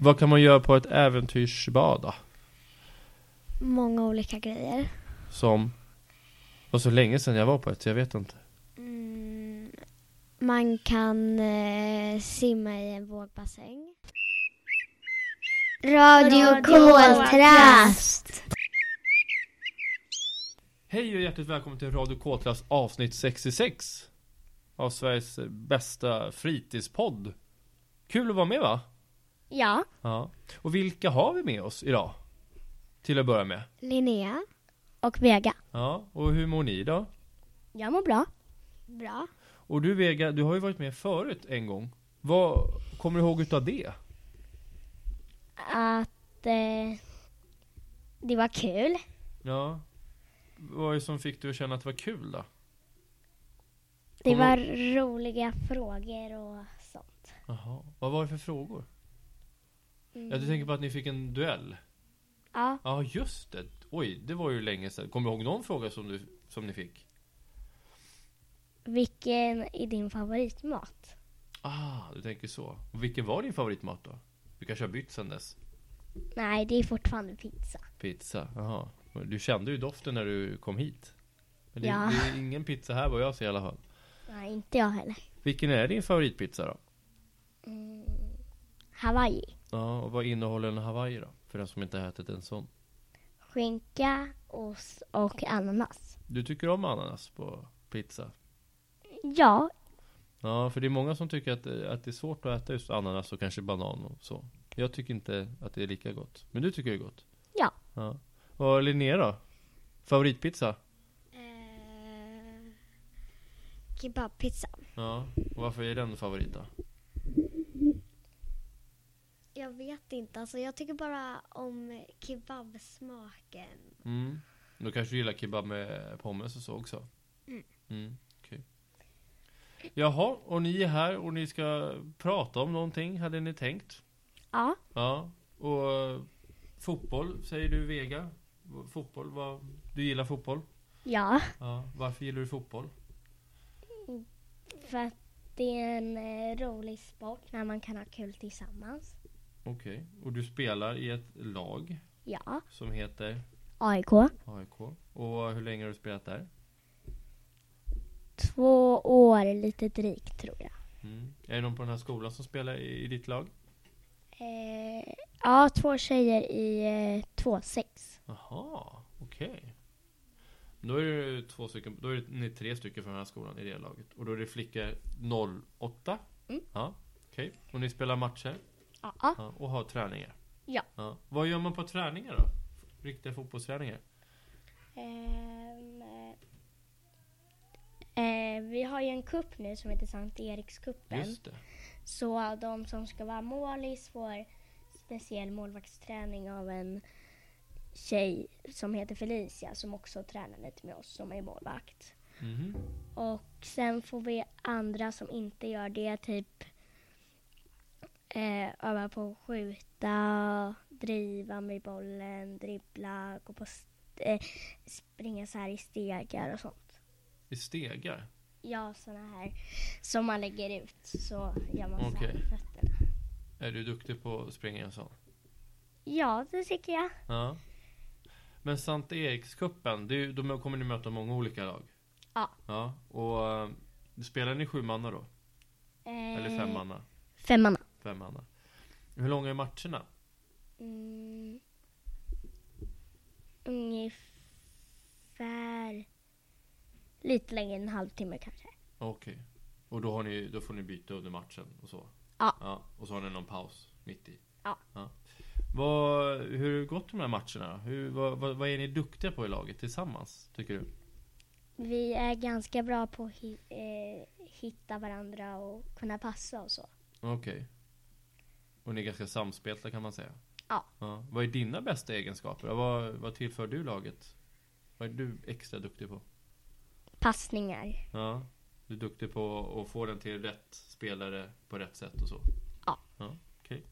Vad kan man göra på ett äventyrsbad då? Många olika grejer. Som... Och så länge sedan jag var på ett, så jag vet inte. Mm, man kan eh, simma i en vågbassäng. Radio Koltrast. Hej och hjärtligt välkommen till Radio K-klass avsnitt 66. Av Sveriges bästa fritidspodd. Kul att vara med va? Ja. Ja. Och vilka har vi med oss idag? Till att börja med. Linnea. Och Vega. Ja, och hur mår ni då? Jag mår bra. Bra. Och du Vega, du har ju varit med förut en gång. Vad kommer du ihåg utav det? Att eh, det var kul. Ja. Vad var det som fick dig att känna att det var kul då? Det Kommer- var roliga frågor och sånt. Jaha. Vad var det för frågor? Mm. Ja, du tänker på att ni fick en duell? Ja. Ja, just det. Oj, det var ju länge sedan. Kommer du ihåg någon fråga som, du, som ni fick? Vilken är din favoritmat? Ah, du tänker så. Och Vilken var din favoritmat då? Vi kanske har bytt sedan dess? Nej, det är fortfarande pizza. Pizza, jaha. Du kände ju doften när du kom hit. Men det, Ja. det är ingen pizza här vad jag ser i alla fall. Nej, inte jag heller. Vilken är din favoritpizza då? Hawaii. Ja, och vad innehåller en hawaii då? För den som inte har ätit en sån. Skinka, ost och ananas. Du tycker om ananas på pizza? Ja, Ja, för det är många som tycker att, att det är svårt att äta just ananas och kanske banan och så. Jag tycker inte att det är lika gott. Men du tycker det är gott? Ja. ja. Och Linnea då? Favoritpizza? Eh, kebabpizza. Ja. Och varför är den favorit då? Jag vet inte, alltså jag tycker bara om kebabsmaken. Mm. Då kanske du gillar kebab med pommes och så också? Mm. okej. Jaha, och ni är här och ni ska prata om någonting, hade ni tänkt? Ja, Ja. Och eh, fotboll, säger du Vega? Fotboll, vad, du gillar fotboll? ja. Ja. Varför gillar du fotboll? För att det är en eh, rolig sport när man kan ha kul tillsammans. Okej, och du spelar i ett lag Ja. som heter AIK. AIK. Och hur länge har du spelat där? Två år lite drygt tror jag. Mm. Är det någon på den här skolan som spelar i, i ditt lag? Eh, ja, två tjejer i eh, 2-6. Jaha, okej. Då är det två stycken, då är det ni är tre stycken från den här skolan i det laget. Och då är det flickor 08? Mm. Ja, okej. Och ni spelar matcher? Ja. Ja, och har träningar? Ja. Vad gör man på träningar då? Riktiga fotbollsträningar? Ehm, eh, vi har ju en kupp nu som heter Sankt Erikskuppen. Just det. Så de som ska vara målis får speciell målvaktsträning av en tjej som heter Felicia som också tränar lite med oss som är målvakt. Mhm. Och sen får vi andra som inte gör det typ eh, öva på att skjuta, driva med bollen, dribbla, gå på st- eh, springa så här i stegar och sånt. I stegar? Ja, såna här som man lägger ut så gör man så här Okej. med fötterna. Är du duktig på att springa en sån? Ja, det tycker jag. Ja. Men Sankt Erikscupen, det är ju- då kommer ni möta många olika lag. Ja. Ja, och eh, spelar ni sju manna då? Eller Eh, fem manna? Femmanna. Fem manna. Hur långa är matcherna? Mm. Ungefär lite längre än en halvtimme kanske. Okej. Och då, har ni, då får ni byta under matchen och så? Ja. Och så har ni någon paus mitt i? Ja. Vad, hur har det gått de här matcherna? då? Hur, vad, vad, vad är ni duktiga på i laget tillsammans, tycker du? Vi är ganska bra på att hi- eh, hitta varandra och kunna passa och så. Okej. Och ni är ganska samspelta kan man säga? Ja. Vad är dina bästa egenskaper? Vad, vad tillför du laget? Vad är du extra duktig på? Passningar. Ja. Du är duktig på att få den till rätt spelare på rätt sätt och så? Ja. ja Okej.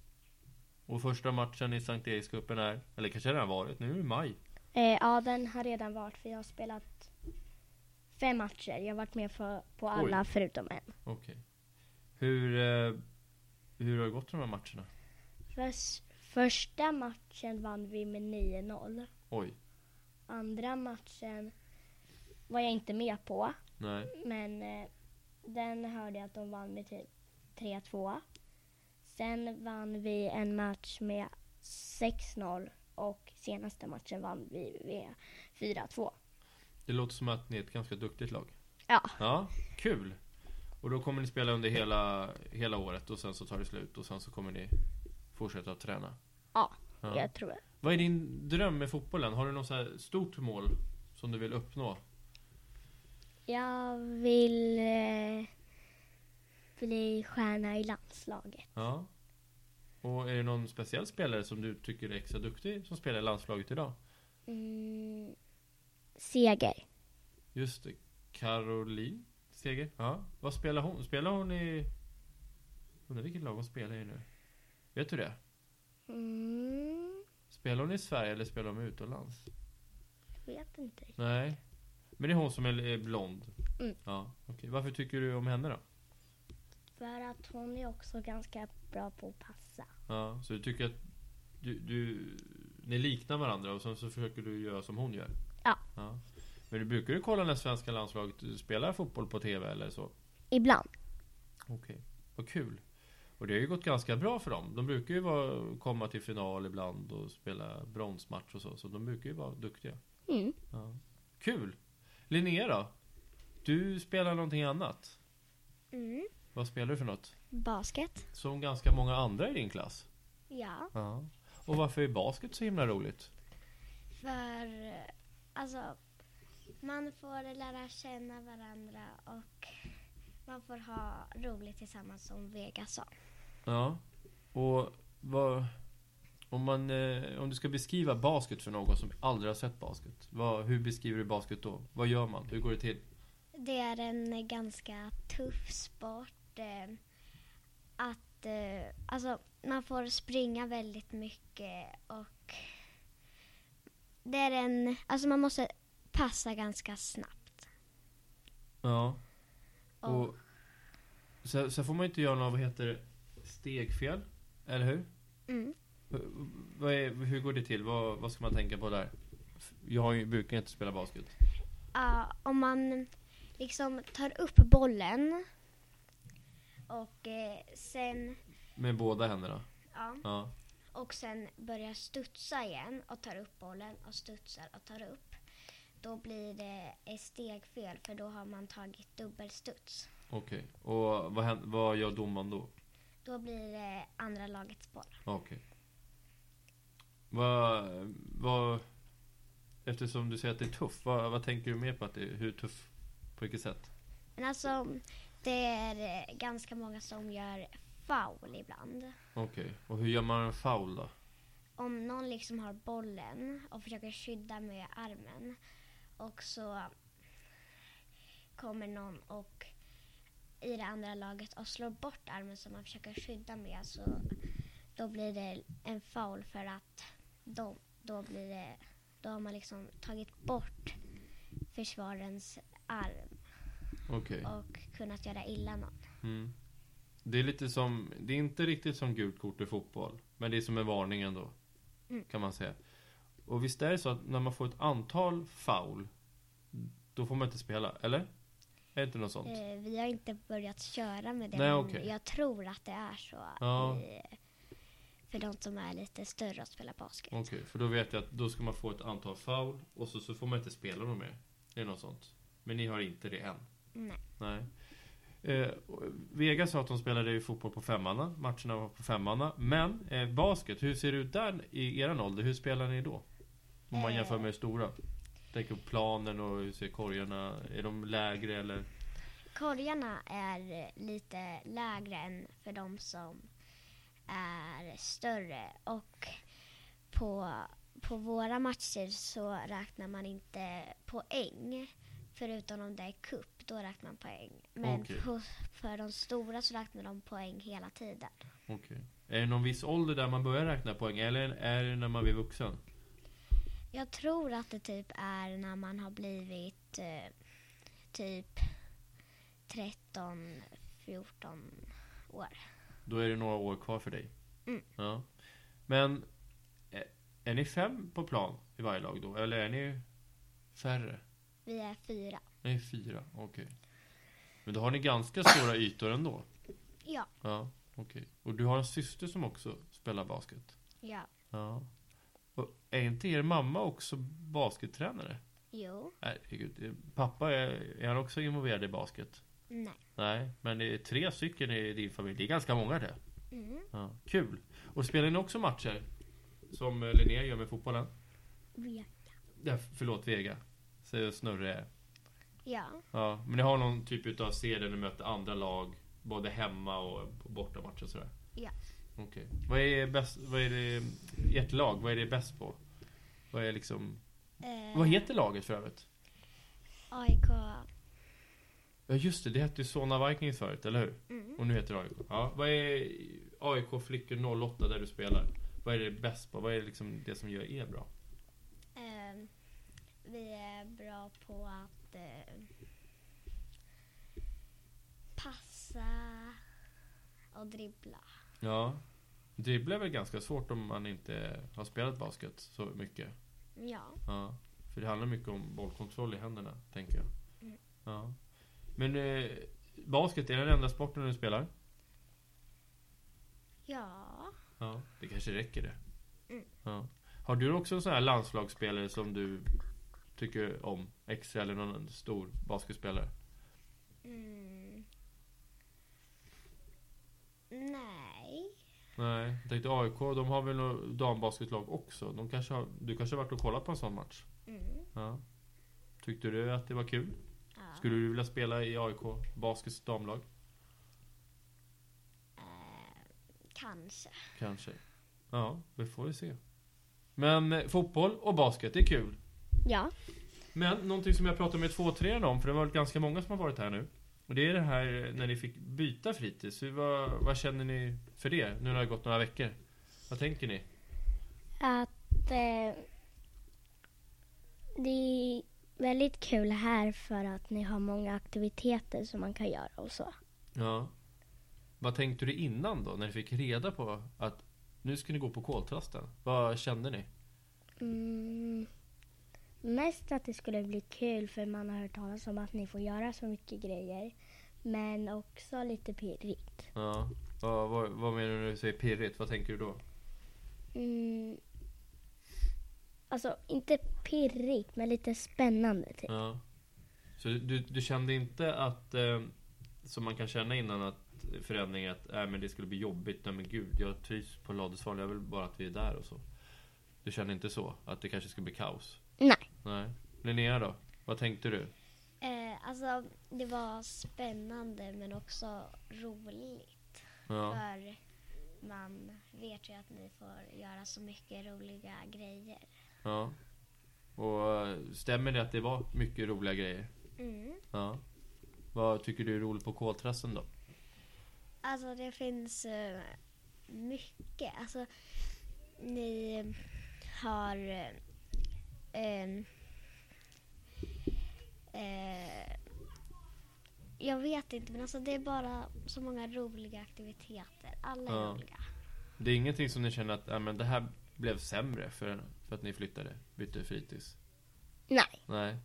Och första matchen i Sankt Erikscupen är, eller kanske den har varit, nu är det maj. Eh, ja, den har redan varit för jag har spelat fem matcher. Jag har varit med för, på alla förutom en. Okej. Hur, eh, hur har det gått de här matcherna? Förs- första matchen vann vi med 9-0. Oj, Andra matchen var jag inte med på, nej. men eh, den hörde jag att de vann med typ 3-2. Sen vann vi en match med 6-0 och senaste matchen vann vi med 4-2. Det låter som att ni är ett ganska duktigt lag. Ja. Ja, kul. Och då kommer ni spela under hela, hela året och sen så tar det slut och sen så kommer ni fortsätta att träna. Ja, Ja. jag tror Vad är din dröm med fotbollen? Har du något så här stort mål som du vill uppnå? Jag vill eh, bli stjärna i landslaget. Ja. Och är det någon speciell spelare som du tycker är extra duktig som spelar i landslaget idag? Mm, seger. Just det, Caroline Seger. Ja. Vad spelar hon? Spelar hon i... Undrar vilket lag hon spelar i nu? Vet du det? Mm, Spelar hon i Sverige eller spelar hon utomlands? jag vet inte. Nej. Men det är hon som är är blond? Mm. Ja, okej. Varför tycker du om henne då? För att hon är också ganska bra på att passa. Ja, så du tycker att du, du, ni liknar varandra och sen så försöker du göra som hon gör? Ja. Men du brukar ju kolla när svenska landslaget spelar fotboll på TV eller så? Ibland. Okej, vad kul. Och det har ju gått ganska bra för dem. De brukar ju vara, komma till final ibland och spela bronsmatch och så. Så de brukar ju vara duktiga. Mm. Ja. Kul! Linnea då? Du spelar någonting annat. Mm. Vad spelar du för något? Basket. Som ganska många andra i din klass. Ja, Ja. Och varför är basket så himla roligt? för eh, alltså man får lära känna varandra och man får ha roligt tillsammans som Vega sa. Ja. Och vad... Om, man, eh, om du ska beskriva basket för någon som aldrig har sett basket. Vad, hur beskriver du basket då? Vad gör man? Hur går det till? Det är en eh, ganska tuff sport. Eh, att eh, alltså man får springa väldigt mycket och det är en, alltså man måste passa ganska snabbt. Ja. Och, Och sen, sen får man ju inte göra några, vad heter det, stegfel? Eller hur? mm. Hur- Vad är, hur går det till? Vad, vad ska man tänka på där? F- Jag har ju, brukar inte spela basket. Ja, om man liksom tar upp bollen och eh, sen Med båda händerna. ja, Ja. och sen börjar studsa igen och tar upp bollen och studsar och tar upp. Då blir det ett stegfel för då har man tagit dubbelstuds. Okej. Och vad, hän- vad gör domaren då? Då blir det andra lagets boll. Okej. Vad, vad... Eftersom du säger att det är tufft, vad, vad tänker du mer på att det är? Hur tuff? På vilket sätt? Men alltså, det är eh, ganska många som gör foul ibland. Okej. Och hur gör man en foul då? om någon liksom har bollen och försöker skydda med armen och så kommer någon och i det andra laget och slår bort armen som man försöker skydda med så då blir det en foul för att då, då blir det då har man liksom tagit bort försvarens arm Okej. och kunnat göra illa någon. Mm. Det är lite som, det är inte riktigt som gult kort i fotboll. Men det är som en varning ändå. Mm. Kan man säga. Och visst är det så att när man får ett antal foul. Då får man inte spela, eller? Är det inte något sånt? Eh, vi har inte börjat köra med det, Nej, men okej. jag tror att det är så Ja. i, för de som är lite större och spelar basket. Okej, för då vet jag att då ska man få ett antal foul. Och så, så får man inte spela något mer. Det är något sånt. Men ni har inte det än. Nej. Nej. Eh, och Vega sa att de spelade ju fotboll på femmanna. Matcherna var på femmanna. Men eh, basket, hur ser det ut där i eran ålder? Hur spelar ni då? Om man Eh. jämför med det stora. Tänk på planen och hur ser korgarna? Är de lägre eller? Korgarna är eh, lite lägre än för de som är större och på, på våra matcher så räknar man inte poäng förutom om det är cup, då räknar man poäng. Men Okej. hos, för de stora så räknar de poäng hela tiden. Okej. Är det någon viss ålder där man börjar räkna poäng? Eller är det när man blir vuxen? Jag tror att det typ är när man har blivit eh, typ 13, 14 år. Då är det några år kvar för dig. Mm. Ja. Men eh, är ni fem på plan i varje lag då? Eller är ni färre? Vi är fyra. Nej, fyra. Okej. Men då har ni ganska stora ytor ändå? Ja. Ja, okej. Och du har en syster som också spelar basket? Ja. Ja. Och är inte er mamma också baskettränare? Jo. Herregud. eh, Pappa, är, är han också involverad i basket? Nej. Nej, men det är tre stycken i din familj. Det är ganska många det. Mm. Ja. Kul! Och spelar ni också matcher? Som eh, Linnea gör med fotbollen? Vet. Ja, förlåt, Vega. Säger Snurre. Ja. Ja, men ni har någon typ utav serie där ni möter andra lag? Både hemma och på bortamatcher och sådär? Ja. Okej. Vad är bäst, vad är det, ert lag, vad är det bäst på? Vad är liksom, Eh, vad heter laget för övrigt? AIK. Ja just det, det hette ju Solna Vikings förut, eller hur? Mm. Och nu heter det AIK. Ja, vad är AIK Flickor 08 där du spelar? Vad är det bäst på? Vad är det liksom det som gör er bra? Eh, vi är bra på att eh, passa och dribbla. Ja. Dribbla är väl ganska svårt om man inte har spelat basket så mycket? Ja. Ja, för det handlar mycket om bollkontroll i händerna, tänker jag. Mm. Ja. Men eh, basket, är det den enda sporten du spelar? Ja. Ja, det kanske räcker det. Mm. Ja. Har du också en sån här landslagsspelare som du tycker om? Extra eller någon annan stor basketspelare? Mm. Nej. Nej, jag tänkte AIK, de har väl något dambasketlag också? De kanske har, du kanske har varit och kollat på en sån match? Mm. Ja. Tyckte du att det var kul? Ja. Skulle du vilja spela i AIK Baskets damlag? Eh, kanske. Kanske. Ja, vi får vi se. Men eh, fotboll och basket, det är kul. Ja. Men någonting som jag pratade med två trean om, för det har varit ganska många som har varit här nu. Och det är det här eh, när ni fick byta fritids. Hur, vad, vad känner ni för det? Nu när det har gått några veckor. Vad tänker ni? Att eh, det är väldigt kul här för att ni har många aktiviteter som man kan göra och så. Ja. Vad tänkte du innan då? När ni fick reda på att nu ska ni gå på koltrasten. Vad kände ni? Mm. Mest att det skulle bli kul för man har hört talas om att ni får göra så mycket grejer. Men också lite pirrigt. Ja. Vad, vad, vad menar du när du säger pirrigt? Vad tänker du då? Mm. Alltså inte pirrigt men lite spännande typ. Ja. Så du, du kände inte att, eh, som man kan känna innan, att förändringen att äh, men det skulle bli jobbigt. Nej men gud, jag trivs på Ladusvallen. Jag vill bara att vi är där och så. Du kände inte så? Att det kanske skulle bli kaos? Nej. Nej. Linnea då? Vad tänkte du? Eh, alltså, det var spännande men också roligt. Ja. För man vet ju att ni får göra så mycket roliga grejer. ja. Och eh, stämmer det att det var mycket roliga grejer? Mm. Ja. Vad tycker du är roligt på koltrasten då? Alltså, det finns eh, mycket. Alltså, ni har... Eh, ehm, eh, jag vet inte, men alltså det är bara så många roliga aktiviteter. Alla är Ja. roliga. Det är ingenting som ni känner att äh, men det här blev sämre för, för att ni flyttade, bytte fritids? Nej. Nej.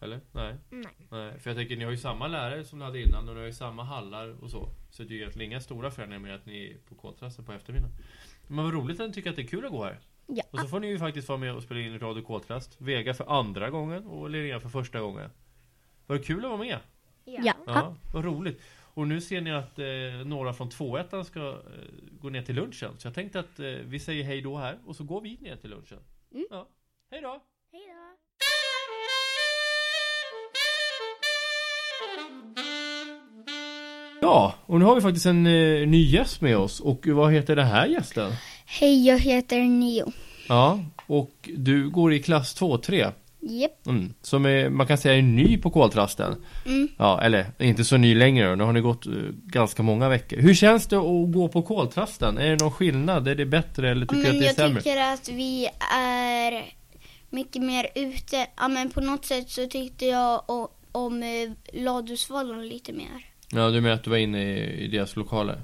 Eller? Nej. Nej. Nej. För jag tänker, ni har ju samma lärare som ni hade innan och ni har ju samma hallar och så. Så det är ju egentligen inga stora förändringar med att ni är på koltrasten på eftermiddagen. Men vad roligt att ni tycker att det är kul att gå här. Ja. Och så får ni ju faktiskt vara med och spela in Radio Koltrast. Vega för andra gången och Linnea för första gången. Var det kul att vara med? Ja. Ja, vad roligt. Och nu ser ni att eh, några från 2-1 ska eh, gå ner till lunchen. Så jag tänkte att eh, vi säger hej då här och så går vi ner till lunchen. Mm. Ja. Hej då! Hej då. Ja, och nu har vi faktiskt en eh, ny gäst med oss. Och vad heter den här gästen? Hej, jag heter Nio. Ja, och du går i klass 2-3. Japp. Mm, som är, man kan säga är ny på koltrasten. Mm. Ja, eller inte så ny längre. Nu har ni gått eh, ganska många veckor. Hur känns det att gå på koltrasten? Är det någon skillnad? Är det bättre eller tycker du att Men det är jag sämre? tycker att vi är mycket mer ute. Ja, men på något sätt så tyckte jag o- om eh, Ladusvallen lite mer. Ja, du menar att du var inne i, i deras lokaler?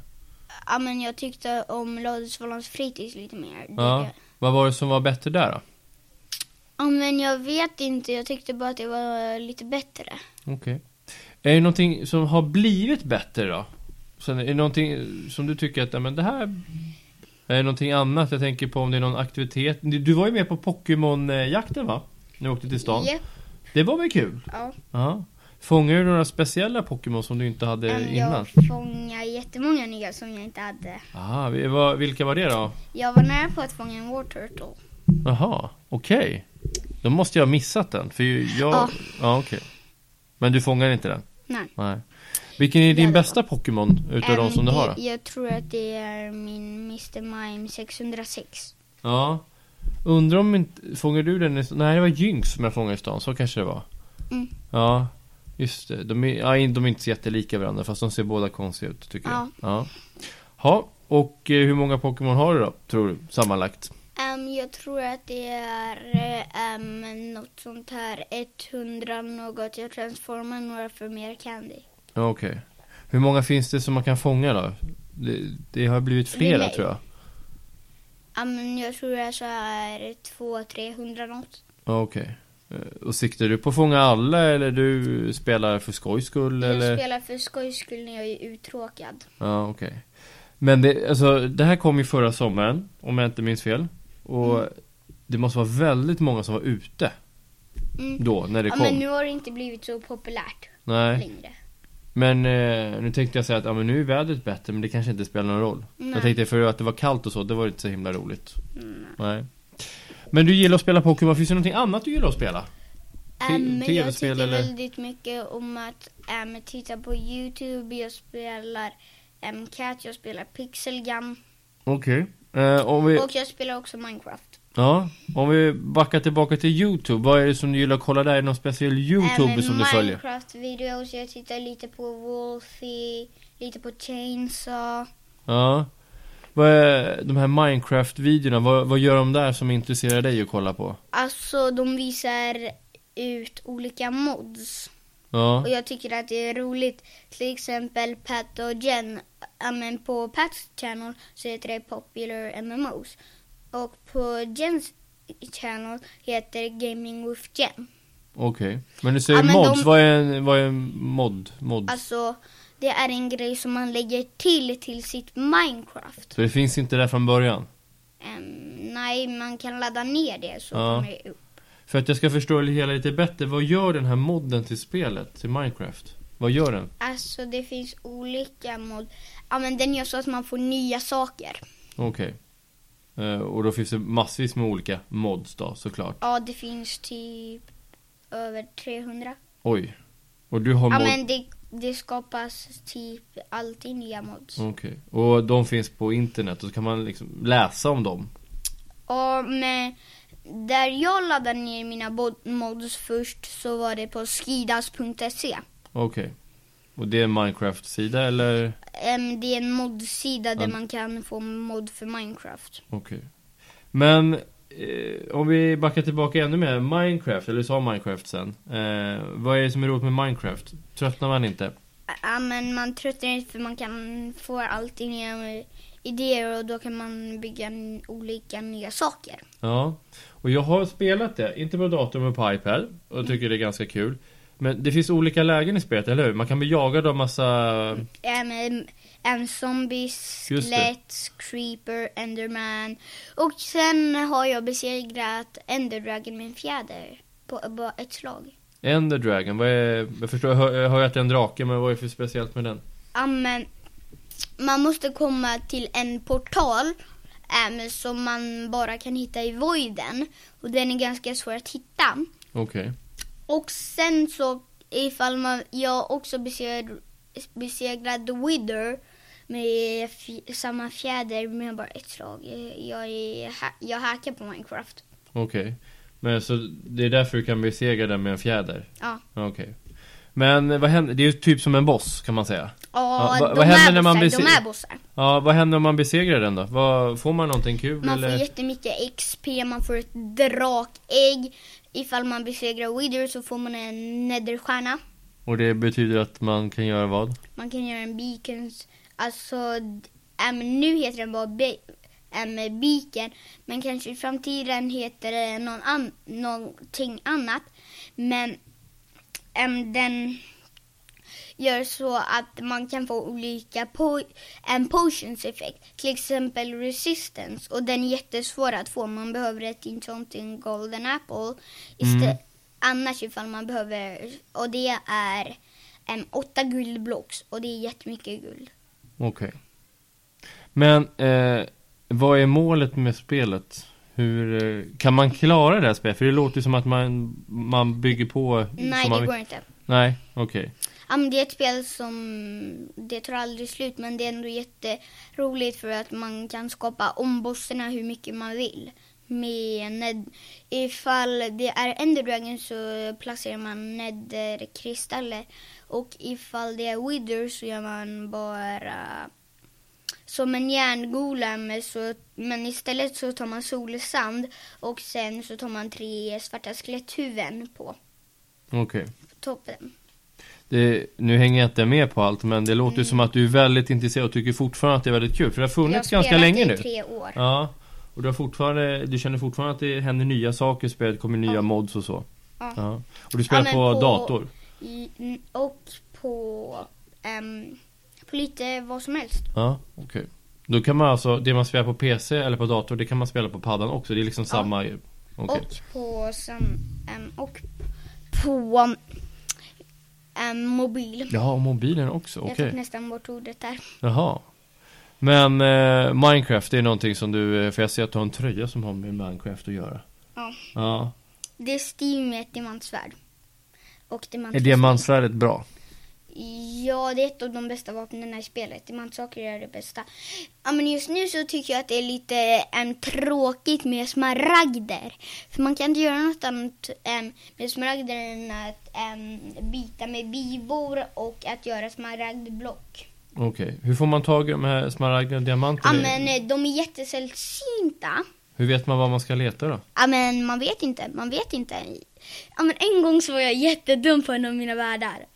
ja, men jag tyckte om Ladusvallans fritids lite mer. Ja. Det- Vad var det som var bättre där då? ja, men jag vet inte. Jag tyckte bara att det var lite bättre. Okej. Är det någonting som har blivit bättre då? Sen är det någonting som du tycker att, ja, men det här... Är det någonting annat? Jag tänker på om det är någon aktivitet. Du du var ju med på Pokémon-jakten va? När du åkte till stan. Japp. Det var väl kul? Ja. Ja. Fångade du några speciella Pokémon som du inte hade Men innan? jag fångade jättemånga nya som jag inte hade. Ah, vi- vad- vilka var det då? Jag var nära på att fånga en War Turtle. Jaha, okej. Då måste jag ha missat den. För ju- jag... Ja. Ja. okej. Men du fångade inte den? Nej. Nej. Vilken är din Jävlar. bästa Pokémon utav de Äm, som du har? det- då? Jag tror att det är min Mr. Mime 606. Ja. Undrar om inte... Fångade du den i... Nej, det var Jynx som jag fångade i stan. Så kanske det var. Mm. Ja. Just det. De är, ja, de är inte så jättelika varandra. Fast de ser båda konstiga ut tycker Ja. jag. Ja. Ha. Och eh, hur många Pokémon har du då? Tror du? Sammanlagt? Äm, jag tror att det är eh, äm, något sånt här 100 något. Jag transformar några för mer candy. Ja, Okej. Hur många finns det som man kan fånga då? Det, det har blivit flera Relay. tror jag. Äm, jag tror det är så här 200-300 något. Ja, Okej. Eh, Och siktar du på att fånga alla eller du spelar för skojs skull? eller? Jag spelar för skojs skull när jag är uttråkad. Ja, okej. Men det, alltså, det här kom ju förra sommaren, om jag inte minns fel. Och det måste vara väldigt många som var ute Mm. då, när det Ja, kom. men nu har det inte blivit så populärt Nej, längre. men eh, nu tänkte jag säga att ja, men nu är vädret bättre, men det kanske inte spelar någon roll. Jag Nej. Mm. tänkte för att det var kallt och så, det var inte så himla roligt. Nej. Men du gillar att spela Pokémon, finns det någonting annat du gillar att spela? Te- Äm, Äh, men jag TV-spel tycker eller? väldigt mycket om att äm, titta på Youtube, jag spelar äm, Cat, jag spelar Pixelgun Okej. Eh, om vi, och jag spelar också Minecraft. ja, om vi backar tillbaka till Youtube, vad är det som du gillar att kolla där? Är det någon Äh, speciell Youtube Äm, som du följer? Minecraft-videos, jag tittar lite på Wolfie, lite på Chainsaw. Ja. Vad är de här Minecraft-videorna, vad, vad gör de där som intresserar dig att kolla på? Alltså de visar ut olika mods Ja, och jag tycker att det är roligt. Till exempel Pat och Jen, ja, men på Pats channel så heter det Popular MMOs och på Jens channel heter Gaming with Jen. Mm. okej. Men du säger Ja, men mods, de- vad, är en, vad är en mod? mod? Alltså det är en grej som man lägger till till sitt Minecraft. Så det finns inte där från början? Ehm, nej, man kan ladda ner det så Ja. kommer det upp. För att jag ska förstå det hela lite bättre, vad gör den här modden till spelet, till Minecraft? Vad gör den? Alltså det finns olika mod. Ja men den gör så att man får nya saker. Okej. Eh, och då finns det massvis med olika mods då, såklart. Ja det finns typ över 300. Oj. Och du har Ja mod... men det, det skapas typ alltid nya mods. Okej. Och de finns på internet, och så kan man liksom läsa om dem? Och med, där jag laddade ner mina bod- mods först så var det på skidas.se. Okej. Och det är en Minecraft-sida eller? Ehm, det är en modsida där Mm. man kan få mod för Minecraft. Okej. Men eh, om vi backar tillbaka ännu mer. Minecraft, eller du sa Minecraft sen. Eh, vad är det som är roligt med Minecraft? Tröttnar man inte? Ja men man tröttnar inte för man kan få alltid nya idéer och då kan man bygga n- olika nya saker. Ja. Och jag har spelat det, inte på datorn men på iPad. Och tycker det är ganska kul. Men det finns olika lägen i spelet, eller hur? Man kan bli jagad av massa... En, en zombie, det. skelett, creeper, enderman. Och sen har jag besegrat enderdragon med en fjäder på bara ett slag. Ender Dragon, vad är... Jag förstår, jag hör, jag hör att det är en drake, men vad är det för speciellt med den? Ja men man måste komma till en portal äm, som man bara kan hitta i voiden. Och den är ganska svår att hitta. Okej. Och sen så ifall man, jag också besegr- besegrade The Wither med fj- samma fjäder med bara ett slag. Jag, är, ha- jag hackar på Minecraft. Okej. Men så det är därför du kan besegra den med en fjäder? Ja. Okej. Men vad händer? Det är ju typ som en boss kan man säga. Ja, va- de, vad händer är när man bossar, de beser- är bossar. Ja, vad händer om man besegrar den då? Vad, får man någonting kul Man eller? får jättemycket XP, man får ett drakägg. Ifall man besegrar Wither så får man en netherstjärna. Och det betyder att man kan göra vad? Man kan göra en beacons. Alltså d- äm, nu heter den bara Be- äm, Biken, men kanske i framtiden heter det någon an- någonting annat. Men äm, den gör så att man kan få olika po- en potions effekt. Till exempel resistance och den är jättesvår att få. Man behöver ett enchanting golden apple. Istä- Mm. Annars ifall man behöver, och det är em, åtta guldblocks och det är jättemycket guld. Okej. Men eh, vad är målet med spelet? Hur eh, kan man klara det här spelet? För det låter ju som att man, man bygger på. Nej, som det man, går inte. Nej, okej. Ja, men det är ett spel som, det tar aldrig slut men det är ändå jätteroligt för att man kan skapa om bossarna hur mycket man vill. Med ned, ifall det är Ender Dragon så placerar man nederkristaller och ifall det är Wither så gör man bara som en järngolem så, men istället så tar man solsand och sen så tar man tre svarta skeletthuvuden på Okej. toppen. Det, nu hänger jag inte med på allt men det låter Mm. ju som att du är väldigt intresserad och tycker fortfarande att det är väldigt kul. För det har Jag funnits har ganska spelat länge i nu. tre år. Ja. Och du, har fortfarande, du känner fortfarande att det händer nya saker i spelet, kommer nya mods och så? Ja. Och du spelar men på, på- dator? I, n- och på, ehm, på lite vad som helst. Ja, okej. Då kan man alltså, det man spelar på PC eller på dator, det kan man spela på paddan också. Det är liksom samma ju. Okej. Och på, sam, ehm, och på ehm, mobil. Jaha, och mobilen också? Jag Okej. tog nästan bort ordet där. Jaha. Men eh, Minecraft, det är någonting som du, eh, för jag ser att du har en tröja som har med Minecraft att göra. Ja. Ja. Det är Steam med ett diamantsvärd. Och dimant... Är diamantsvärdet bra? Ja, det är ett av de bästa vapnen i spelet. Dimantsaker är det bästa. Ja, men just nu så tycker jag att det är lite em, tråkigt med smaragder. För man kan inte göra något annat em, med smaragder än att em, bita med bivor och att göra smaragdblock. Okej. Hur får man tag i de här smaragderna och Ja, diamanterna? men eh, de är jättesällsynta. Hur vet man var man ska leta då? Ja, men man vet inte, man vet inte. Ja, men en gång så var jag jättedum på en av mina världar.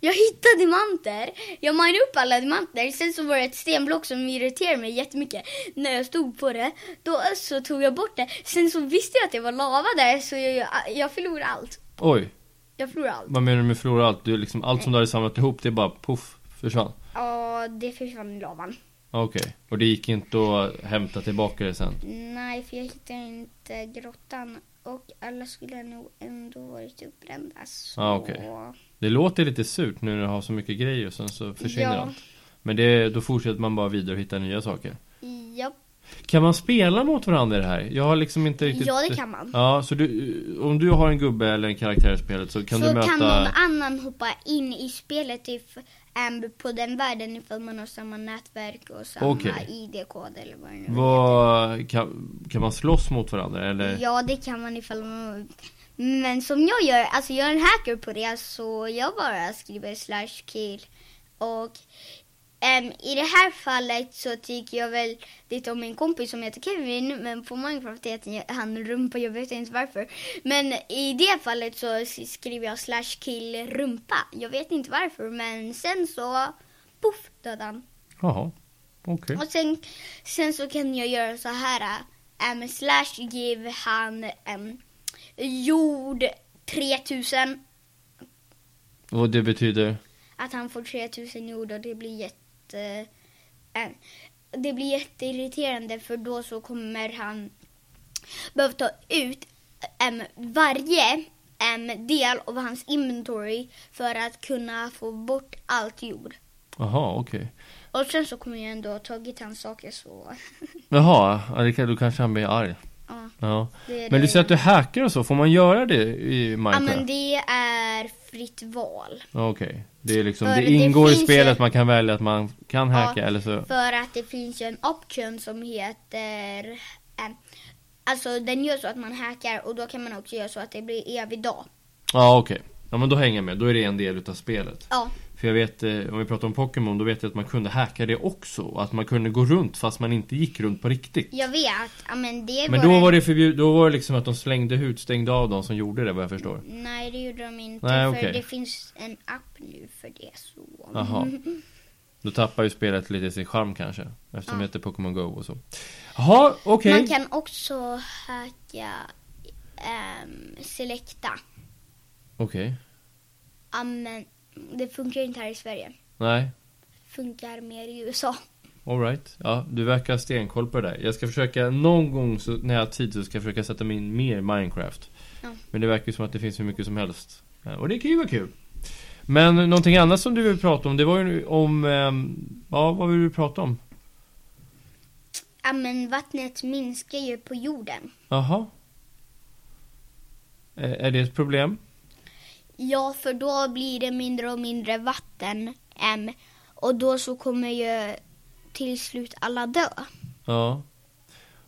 Jag hittade diamanter, jag minade upp alla diamanter, sen så var det ett stenblock som irriterade mig jättemycket när jag stod på det. Då så tog jag bort det, sen så visste jag att det var lava där så jag, jag, jag förlorade allt. Oj, Jag förlorade allt. vad menar du med förlora allt? Du, liksom, allt som du hade samlat ihop, det är bara poff, försvann. Ja, det försvann i lavan. Okej. Och det gick inte att hämta tillbaka det sen? Nej, för jag hittade inte grottan och alla skulle nog ändå varit uppbrända. Så... Ja, okej. Det låter lite surt nu när du har så mycket grejer och sen så försvinner Ja. allt. Men det, då fortsätter man bara vidare och hittar nya saker. Japp. Kan man spela mot varandra i det här? Jag har liksom inte riktigt... Ja, det kan man. Ja, så du, om du har en gubbe eller en karaktär i spelet så kan så du möta... kan någon annan hoppa in i spelet if, äm, på den världen ifall man har samma nätverk och samma Okej. ID-kod eller vad det nu Vad, kan, kan man slåss mot varandra eller? är. Ja, det kan man ifall man... Men som jag gör, alltså jag är en hacker på det så jag bara skriver slash kill. Och äm, i det här fallet så tycker jag väl lite om min kompis som heter Kevin men på Minecraft heter han Rumpa, jag vet inte varför. Men i det fallet så s- skriver jag slash kill rumpa. Jag vet inte varför men sen så poff dödade han. Jaha, okej. Och sen, sen så kan jag göra så här. Um, slash give han um, jord 3000. Och det betyder? Att han får 3000 jord och det blir jätte... eh, det blir jätteirriterande för då så kommer han behöva ta ut em, varje em, del av hans inventory för att kunna få bort allt jord. Jaha, okej. Och sen så kommer jag ändå ha tagit hans saker så... Jaha, ja, det kan, då kanske han blir arg. Ja, Ja. det är Men du det. säger att du hackar och så, får man göra det i Ja men Minecraft? det är fritt val. Okej, det är liksom, För det det ingår i finns spelet, ju- man kan välja att man kan hacka eller så. För att det finns ju en option som heter... Eh, alltså den gör så att man hackar och då kan man också göra så att det blir evig dag. Ja okej, ja men då hänger jag med, då är det en del utav spelet. Ja, För jag vet, eh, om vi pratar om Pokémon, då vet jag att man kunde hacka det också. Och Att man kunde gå runt fast man inte gick runt på riktigt. jag vet. Ja, men det Men då en- var det förbjudet, då var det liksom att de slängde ut, stängde av de som gjorde det vad jag förstår. Nej, det gjorde de inte. Nej, för okej. det finns en app nu för det. Så. Mm. Jaha. Då tappar ju spelet lite sin charm kanske. Eftersom det Ja. heter Pokémon Go och så. Jaha, okej. Man kan också hacka ehm, Selecta. Okej. Ja, men det funkar ju inte här i Sverige. Nej, Funkar mer i USA. alright. Ja, du verkar ha stenkoll på det där. Jag ska försöka, någon gång så, när jag har tid så ska jag försöka sätta mig in mer i Minecraft. Ja. Men det verkar ju som att det finns hur mycket som helst. Ja, Och det kan ju vara kul. Men någonting annat som du vill prata om, det var ju om... ehm, Ja, vad vill du prata om? Ja, men vattnet minskar ju på jorden. Jaha. Eh, Är det ett problem? Ja, för då blir det mindre och mindre vatten. ehm, och då så kommer ju till slut alla dö. Ja.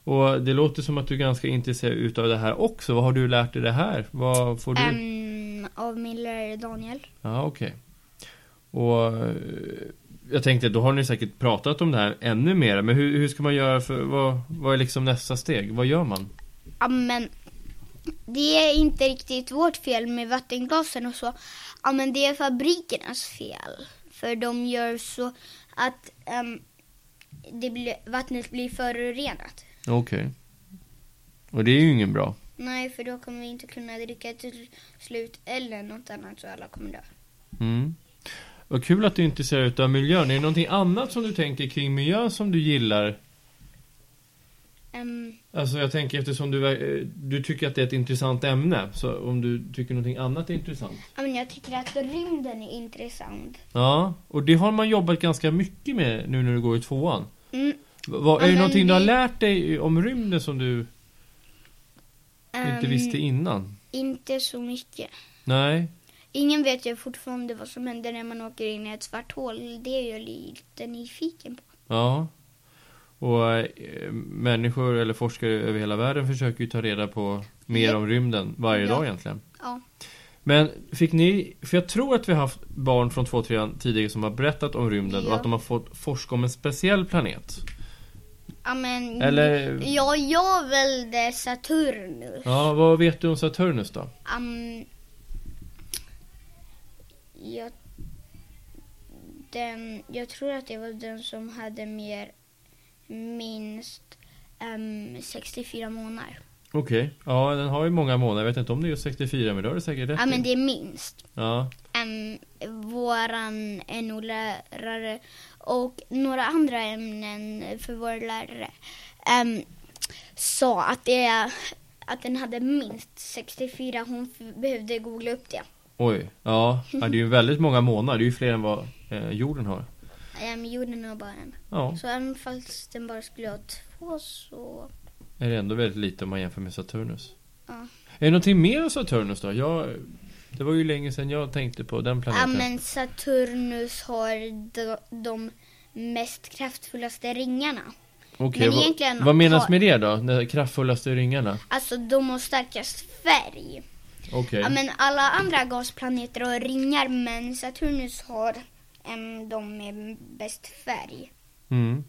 Och det låter som att du är ganska intresserad utav det här också. Vad har du lärt dig det här? Vad får du? Ehm, av min lärare Daniel. Ja, okej. Och eh, jag tänkte, då har ni säkert pratat om det här ännu mer. Men hur, hur ska man göra för, vad, vad är liksom nästa steg? Vad gör man? Ja, men det är inte riktigt vårt fel med vattenglasen och så. Ja, men det är fabrikernas fel. För de gör så att ehm, det blir, vattnet blir förorenat. Okej. Och det är ju ingen bra. Nej, för då kommer vi inte kunna dricka till slut eller något annat så alla kommer dö. Mm. Vad kul att du är intresserad utav miljön. Är det någonting annat som du tänker kring miljön som du gillar? Ehm, Alltså jag tänker eftersom du, eh, du tycker att det är ett intressant ämne. Så om du tycker någonting annat är intressant. ja, men jag tycker att rymden är intressant. Ja, och det har man jobbat ganska mycket med nu när du går i tvåan. Mm, Va, va, Ja, är det men någonting du har vi- lärt dig om rymden som du inte ehm, visste innan? Inte så mycket. Nej. Ingen vet ju fortfarande vad som händer när man åker in i ett svart hål. Det är jag lite nyfiken på. Ja. Och eh, människor eller forskare över hela världen försöker ju ta reda på mer Ja. om rymden varje Ja. dag egentligen. Ja. Men fick ni, för jag tror att vi har haft barn från 2 3 tidigare som har berättat om rymden och Ja. att de har fått forska om en speciell planet. ja men, Eller- Ja, jag välde Saturnus. Ja, vad vet du om Saturnus då? Ehm, jag, den, jag tror att det var den som hade mer, minst ehm, 64 månader. Okej. Ja, den har ju många månader. Jag vet inte om det är just 64, men det har du säkert rätt Ja, men i. det är minst. Ja. Ehm, våran NO-lärare och några andra ämnen för vår lärare ehm, sa att, det, att den hade minst 64. Hon f- behövde googla upp det. Oj. Ja. ja, det är ju väldigt många månader. Det är ju fler än vad eh, jorden har. Um, jorden har bara en. Ja, Så även fast den bara skulle ha två så... är det ändå väldigt lite om man jämför med Saturnus. Ja. Är det någonting mer om Saturnus då? Jag, det var ju länge sedan jag tänkte på den Ja planeten. men Saturnus har de, de mest kraftfullaste ringarna. Okej, men vad- egentligen vad menas har- med det då? De kraftfullaste ringarna? Alltså de har starkast färg. Okej. Ja men alla andra gasplaneter har ringar men Saturnus har um, de med bäst färg. Mm.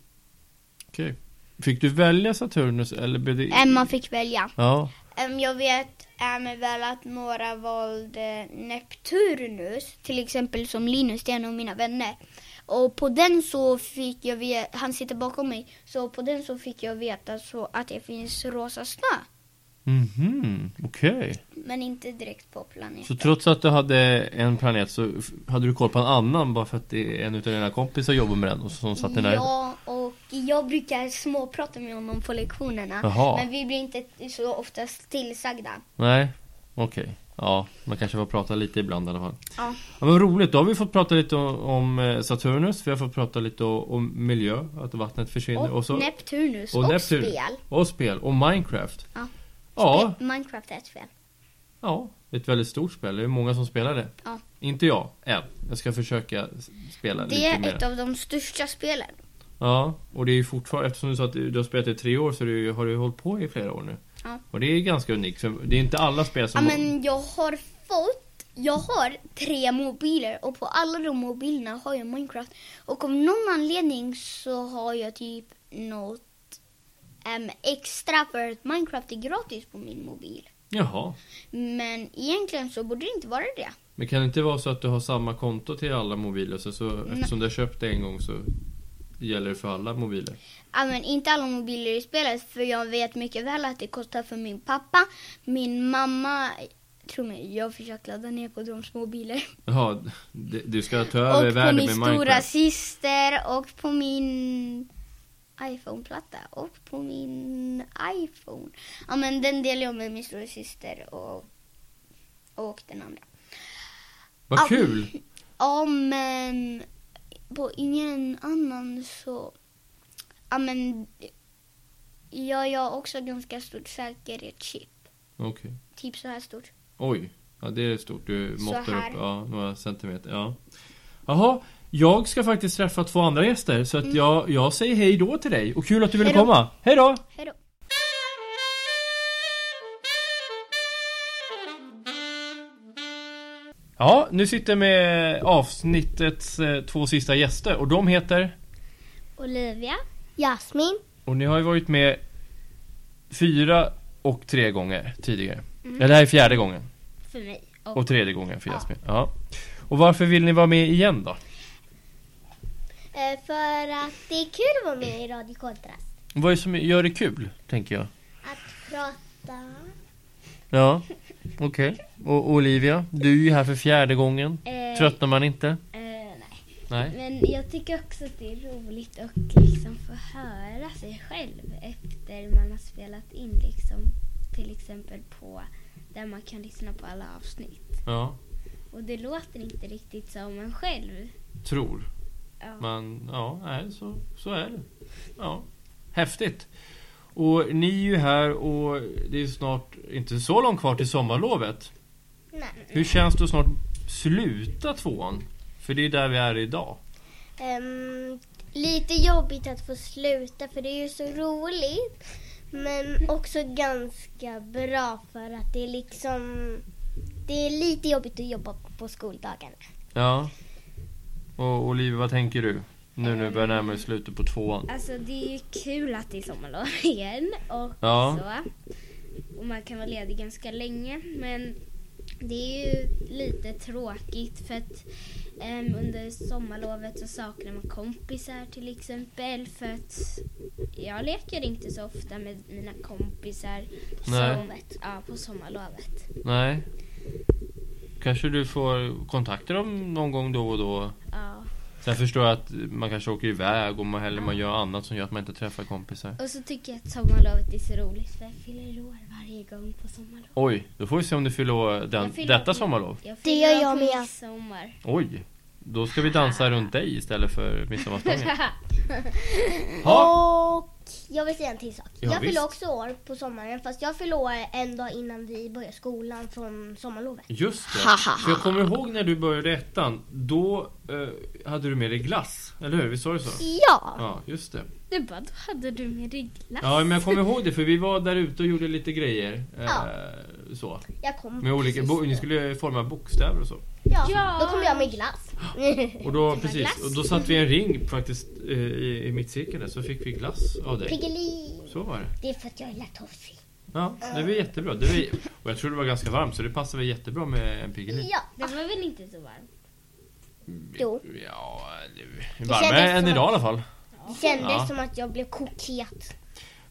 Okej. Fick du välja Saturnus eller blev det... Em, man fick välja. Ja. Em, jag vet um, väl att några valde Neptunus, till exempel som Linus, det är en av mina vänner. Och på den så fick jag veta, han sitter bakom mig, så på den så fick jag veta så att det finns rosa snö. Mhm, okej. Men inte direkt på planeten. Så trots att du hade en planet så f- hade du koll på en annan bara för att det är en utav dina kompisar jobbar med den och som satt den där? Ja, och jag brukar småprata med honom på lektionerna. Jaha. Men vi blir inte så ofta tillsagda. Nej, okej. Ja, man kanske får prata lite ibland i alla fall. Ja. ja men roligt, då har vi fått prata lite om, om eh, Saturnus, vi har fått prata lite om, om miljö, att vattnet försvinner Och, och, så, Neptunus och och, Neptun. spel. och spel och Minecraft. Ja. Ja, Spe- Minecraft är ett spel. ja, ett väldigt stort spel. Det är många som spelar det. Ja. Inte jag, än. Jag ska försöka s- spela Det lite är mer. ett av de största spelen. Ja, och det är ju fortfarande, eftersom du sa att du du har spelat i tre år så du, har du ju hållit på i flera år nu. Ja. Och det är ganska unikt, för det är inte alla spel som... Ja, men jag har fått, jag har tre mobiler och på alla de mobilerna har jag Minecraft. Och av någon anledning så har jag typ något ehm, extra för att Minecraft är gratis på min mobil. Jaha. Men egentligen så borde det inte vara det. Men kan det inte vara så att du har samma konto till alla mobiler? Så, så eftersom du har köpt det en gång så gäller det för alla mobiler? Ja, men inte alla mobiler i spelet för jag vet mycket väl att det kostar för min pappa, min mamma, tro mig, jag har försökt ladda ner på de små mobiler. Jaha, d- du ska ta över Och på världen min med stora Minecraft? syster och på min iPhone-platta och på min iPhone. Ja men den delar jag med min stora syster och, och den andra. Vad Ja. kul! Ja men på ingen annan så, ja men jag jag har också ganska stort säkerhetschip. Okej. Typ så här stort. Oj, ja, det är stort. Du Så måttar här. upp ja, några centimeter. Ja. Jaha, jag ska faktiskt träffa två andra gäster så att jag, jag säger hej då till dig. Och kul att du ville Mm. Hej då. komma. Hej då! Hejdå. Ja, nu sitter jag med avsnittets eh, två sista gäster och de heter... Olivia. Jasmin. Och ni har ju varit med fyra och tre gånger tidigare. Eller det här är fjärde gången. För mig. Och tredje gången för Jasmin. Ja. Och varför vill ni vara med igen då? eh, För att det är kul att vara med i Radio Kontrast. Vad är det som gör det kul, tänker jag? Att prata. Ja, okej. Och Olivia, du är ju här för fjärde gången. eh, Tröttnar man inte? nej. Nej. Men jag tycker också att det är roligt att liksom få höra sig själv efter man har spelat in. Liksom, till exempel på där man kan lyssna på alla avsnitt. Ja, Och det låter inte riktigt som en själv. tror. Ja. Men ja, nej, så, så är det. Ja. Häftigt. Och ni är ju här och det är snart inte så långt kvar till sommarlovet. Nej. Hur känns det att snart sluta tvåan? För det är där vi är idag. Ehm, lite jobbigt att få sluta för det är ju så roligt. Men också ganska bra för att det är liksom... Det är lite jobbigt att jobba på skoldagarna. Ja. Och Olivia, vad tänker du? Nu när vi börjar närma oss slutet på tvåan. Alltså det är ju kul att det är sommarlov igen och Ja. så. Och man kan vara ledig ganska länge men det är ju lite tråkigt för att em, under sommarlovet så saknar man kompisar till exempel för att jag leker inte så ofta med mina kompisar på, Nej. sommarlovet. Ja, på sommarlovet. Nej. Kanske du får kontakta dem någon gång då och då. Ja. Sen förstår jag att man kanske åker iväg och man, eller man gör annat som gör att man inte träffar kompisar. Och så tycker jag att sommarlovet är så roligt för jag fyller år varje gång på sommarlov. Oj, då får vi se om du fyller år den, Jag fyller- detta sommarlov. Jag Det fyller gör år jag på med. midsommar. Oj, då ska vi dansa runt dig istället för midsommarstången. Ha, Och jag vill säga en till sak. Ja, jag visst. fyller också år på sommaren fast jag fyller år en dag innan vi börjar skolan från sommarlovet. just det. För jag kommer ihåg när du började ettan. Då eh, hade du med dig glass, eller hur? Vi sa det så? Ja! Ja, just det. Du bara, då hade du med dig glass. Ja, men jag kommer ihåg det för vi var där ute och gjorde lite grejer. Eh, Så. Jag kom Med olika, precis bo, då. ni skulle forma bokstäver och så. ja, Ja. Då kommer jag med glass. Och då, glass. precis, och då satt vi i en ring faktiskt eh, i, i mittcirkeln där, så fick vi glass av dig. Piggelin! Så var det. Det är för att jag gillar toffee. Ja, det var jättebra. Det var, och jag tror det var ganska varmt så det passade väl jättebra med en Piggelin. Ja, Det var väl inte så varmt? jo. Ja, det- kändes varmare än som- idag i alla fall. Det kändes Ja. som att jag blev koket.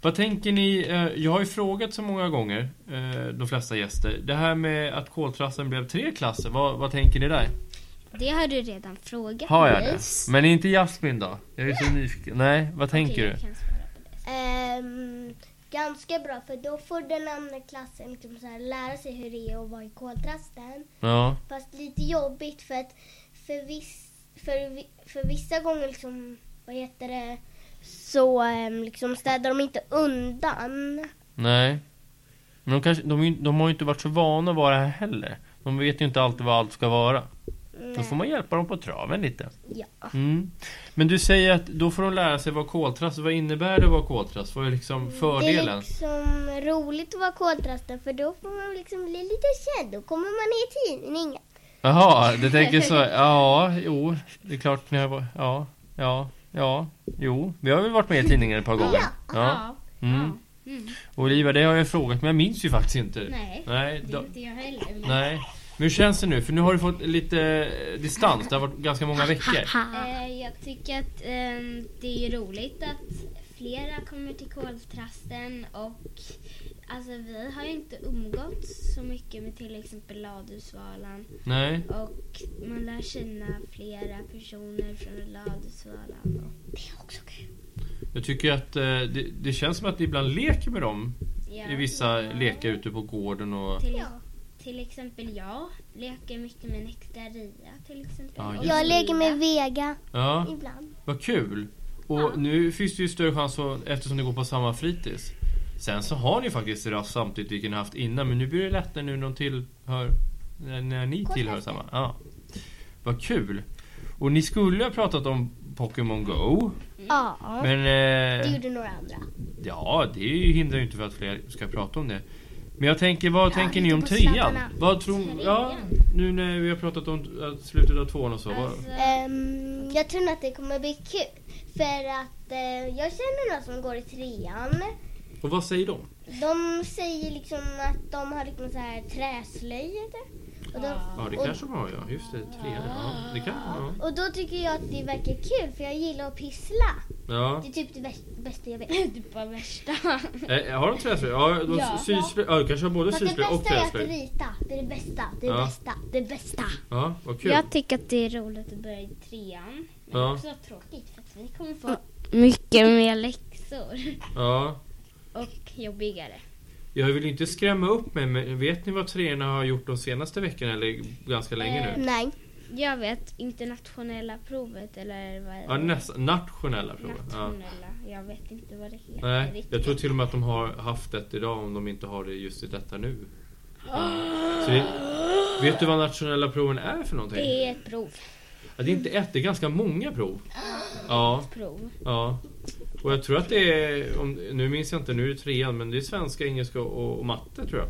Vad tänker ni? eh, Jag har ju frågat så många gånger, eh, de flesta gäster, det här med att koltrasten blev tre klasser. Vad, vad tänker ni där? Det har du redan frågat Har jag mig. det? Men inte Jasmin då? Jag är så nyfiken. Nej, vad Okej, tänker du? jag kan svara på det. Ehm, ganska bra för då får den andra klassen liksom så här lära sig hur det är att vara i koltrasten. Ja, Fast lite jobbigt för att för, viss, för, vi- för vissa gånger liksom, vad heter det, så ehm, liksom städar de inte undan. nej. Men de, kanske, de, är ju- de har ju inte varit så vana att vara här heller. De vet ju inte alltid vad allt ska vara. Då får man hjälpa dem på traven lite. Mm, Ja. Mm. Men du säger att då får de lära sig vad koltrast, vad innebär det att vara koltrast? Vad är liksom Det är fördelen? liksom roligt att vara koltrasten för då får man liksom bli lite känd. Då kommer man i tidningen. Jaha, du tänker så. Ja, jo, det är klart ni har varit- Ja, ja, ja, jo. Vi har väl varit med i tidningen ett par gånger? Ja. Mm. Ja. Mm. Olivia, det har jag frågat men jag minns ju faktiskt inte. Nej, Nej, det då, är inte jag heller. Men nej. Men hur känns det nu? För nu har du fått lite eh, distans. Det har varit ganska många veckor. Eh, jag tycker att ehm, det är ju roligt att flera kommer till koltrasten och alltså vi har ju inte umgåtts så mycket med till exempel Ladusvalan Nej. och man lär känna flera personer från Ladusvalan. Jag tycker att eh, det, det känns som att du ibland leker med dem Ja. i vissa lekar ute på gården och... Till, till exempel jag leker mycket med Nektaria till exempel. Ja, Och just det. Frida. Jag lägger med Vega Ja, ibland. vad kul! Och nu finns det ju större chans att, eftersom ni går på samma fritids. Sen så har ni faktiskt rast samtidigt, vilket ni haft innan, men nu blir det lättare nu när de tillhör... När, när ni tillhör samma. Ja. Vad kul! Och ni skulle ha pratat om Pokémon Go, Ja. men... Eh, gjorde några andra. Ja, det hindrar ju inte för att fler ska prata om det. Men jag tänker, vad tänker ni om trean? Vad tror Ja, nu när vi har pratat om eh, slutet av tvåan och så. vad- Alltså, Ehm, jag tror nog att det kommer bli kul. För att eh, jag känner några som går i trean. Och vad säger de? De säger liksom att de har liksom så här träslöjd. Och, de, Ja, det kanske de har ja. Just det, trean. Ja, det kan ja. och då tycker jag att det verkar kul för jag gillar att pyssla. ja. Det är typ det bäst- bästa jag vet. typ bara värsta. Eh, har de träslöjd? Ja, de Ja. syslöjd. Ja, de kanske har både Fast det syslöjd och bästa är att träslöjd. rita. Det är det bästa. Det är det Ja. bästa. Det är det bästa. Ja, vad kul. jag tycker att det är roligt att börja i trean. Men Ja. också tråkigt för att vi kommer få Mm. mycket mer läxor. Ja. Och jobbigare. Jag vill inte skrämma upp mig, men vet ni vad treorna har gjort de senaste veckorna? Eller ganska länge nu? Eh, Nej. Jag vet, internationella provet eller vad är Ja, det? nästa, nationella provet. Ja. Nationella. Jag vet inte vad det heter Nej, riktigt. jag tror till och med att de har haft ett idag om de inte har det just i detta nu. Ah! Så det, vet du vad nationella proven är för någonting? Det är ett prov. Ja, det är inte ett, det är ganska många prov. Ja, Ah! prov. ja. Och jag tror att det är, om, nu minns jag inte, nu är det trean, men det är svenska, engelska och, och matte tror jag.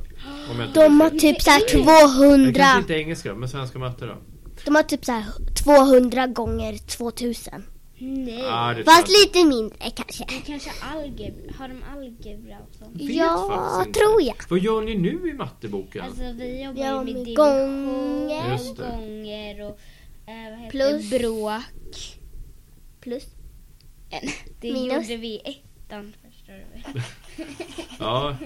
Om jag inte De har minns fel. typ så här Nej, 200. kanske inte engelska, men svenska och matte då. De har typ så här 200 gånger 2000. Nej. Ah, det Fast tror lite mindre kanske. Kanske algebra. Har de algebra och sånt? jag. Vet Ja, faktiskt inte. tror jag. Vad gör ni nu i matteboken? Alltså vi jobbar Ja, ju med med division, gånger. Just det. gånger och eh, vad heter Plus. det? bråk. Plus. Det Minus. gjorde vi i ettan förstår du. Ja,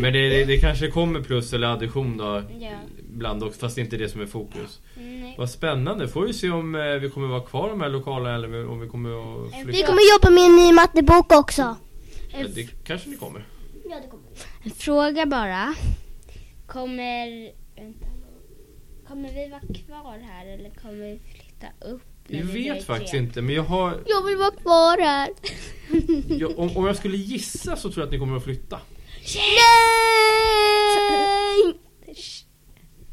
men det, det, det kanske kommer plus eller addition då. Ja. Mm, Bland också, fast det är inte det som är fokus. Nej. Vad spännande. Får vi se om eh, vi kommer vara kvar i de här lokalerna eller om vi kommer att flytta. Vi kommer jobba med en ny mattebok också. Ja, det kanske ni kommer. Fråga bara. Kommer... Vänta. Kommer vi vara kvar här eller kommer vi flytta upp? när Jag vi blir vet faktiskt tre? inte, men jag har... Jag vill vara kvar här. Jag, om, om jag skulle gissa så tror jag att ni kommer att flytta. Nej!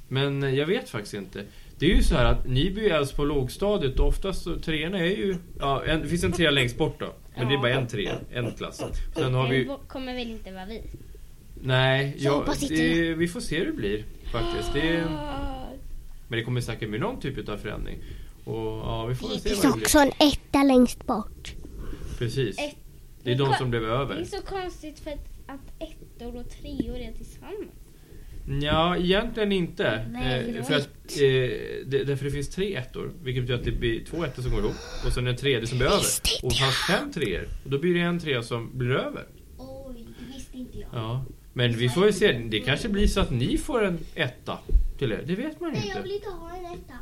Men eh, jag vet faktiskt inte. Det är ju så här att Nyby är alltså på lågstadiet och oftast så treorna är ju... Ja, en, det finns en trea längst bort då. Men det är bara en trea, en klass. Sen har vi... Det kommer väl inte vara vi? Nej, jag, hoppas inte det, vi får se hur det blir faktiskt. Det, Ah. Ah, men det kommer säkert bli någon typ av förändring. Och ja, vi får väl Det se finns vad det blir. också en eh. etta längst bort. Precis. Ett- Det är de som blev Det är över. så konstigt för att, att ettor och treor är tillsammans. Ja, egentligen inte. Nej, eh, för att, eh, det, därför det finns tre ettor. Vilket betyder att det blir två ettor som går ihop. Och sen en tredje som blir över. Och det fanns fem treor. Och då blir det en trea som blir över. Oj, det visste inte jag. Ja. Men vi får väl se. Det Mm. kanske blir så att ni får en etta till er. Det vet man ju inte. inte ha en etta.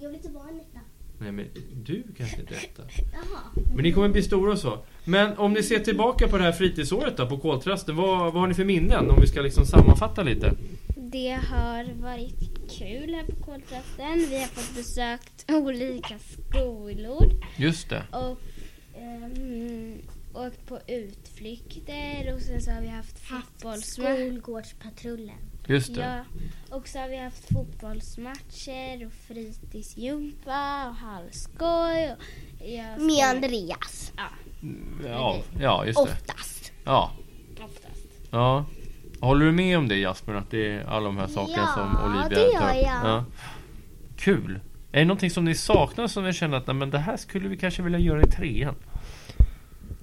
Jag vill inte vara en etta. Nej men du kanske inte är etta. Jaha. Men ni kommer bli stora och så. Men om ni ser tillbaka på det här fritidsåret då, på koltrasten. Vad, vad har ni för minnen? Om vi ska liksom sammanfatta lite. Det har varit kul här på koltrasten. Vi har fått besökt olika skolor Just det. och ehm, åkt på utflykter och sen så har vi haft fotbollsmatcher. Skolgårdspatrullen. Just Ja, och så har vi haft fotbollsmatcher och fritidsgympa och halvskoj. Och jag ska- Med Andreas. Ja, ja just det. Oftast. Ja. Oftast. Ja. Håller du med om det Jasper? Att det är alla de här sakerna Ja, som Olivia det gör tar upp? jag. Kul! Är det någonting som ni saknar som ni känner att nej, men det här skulle vi kanske vilja göra i trean?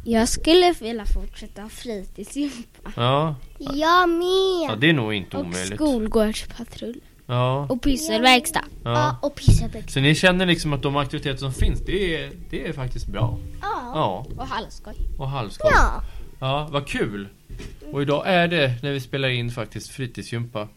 Jag skulle vilja fortsätta ha fritidsgympa Ja, Jag ja med. det är nog inte och omöjligt. skolgårdspatrull. Ja, Och pysselverkstad. ja. och pissarbete. Så ni känner liksom att de aktiviteter som finns, det är, det är faktiskt bra? Ja. Ja. Och halvskoj. Och halvskoj. Ja. Ja, vad kul! Och idag är det, när vi spelar in faktiskt, fritidsgympa.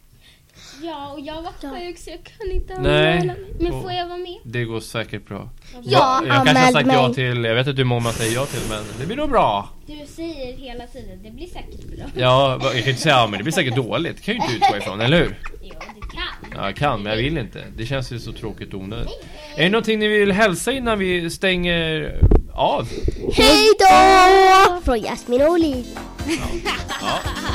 Ja, och jag var sjuk så jag kunde inte Nej. anmäla mig. Men Och- får jag vara med? Det går säkert bra. Ja, jag kanske har anmäld sagt ja mig. till, jag vet inte hur många man säger ja till men det blir nog bra. Du säger hela tiden, det blir säkert bra. Ja, vad- jag kan inte säga ja men det blir säkert dåligt. Det kan ju inte utgå ifrån, eller hur? Jo, du kan. Ja, jag kan men jag vill inte. Det känns ju så tråkigt och onödigt. Är det någonting ni vill hälsa innan vi stänger av? Hej då! Från Jasmin och Olivia. Ja.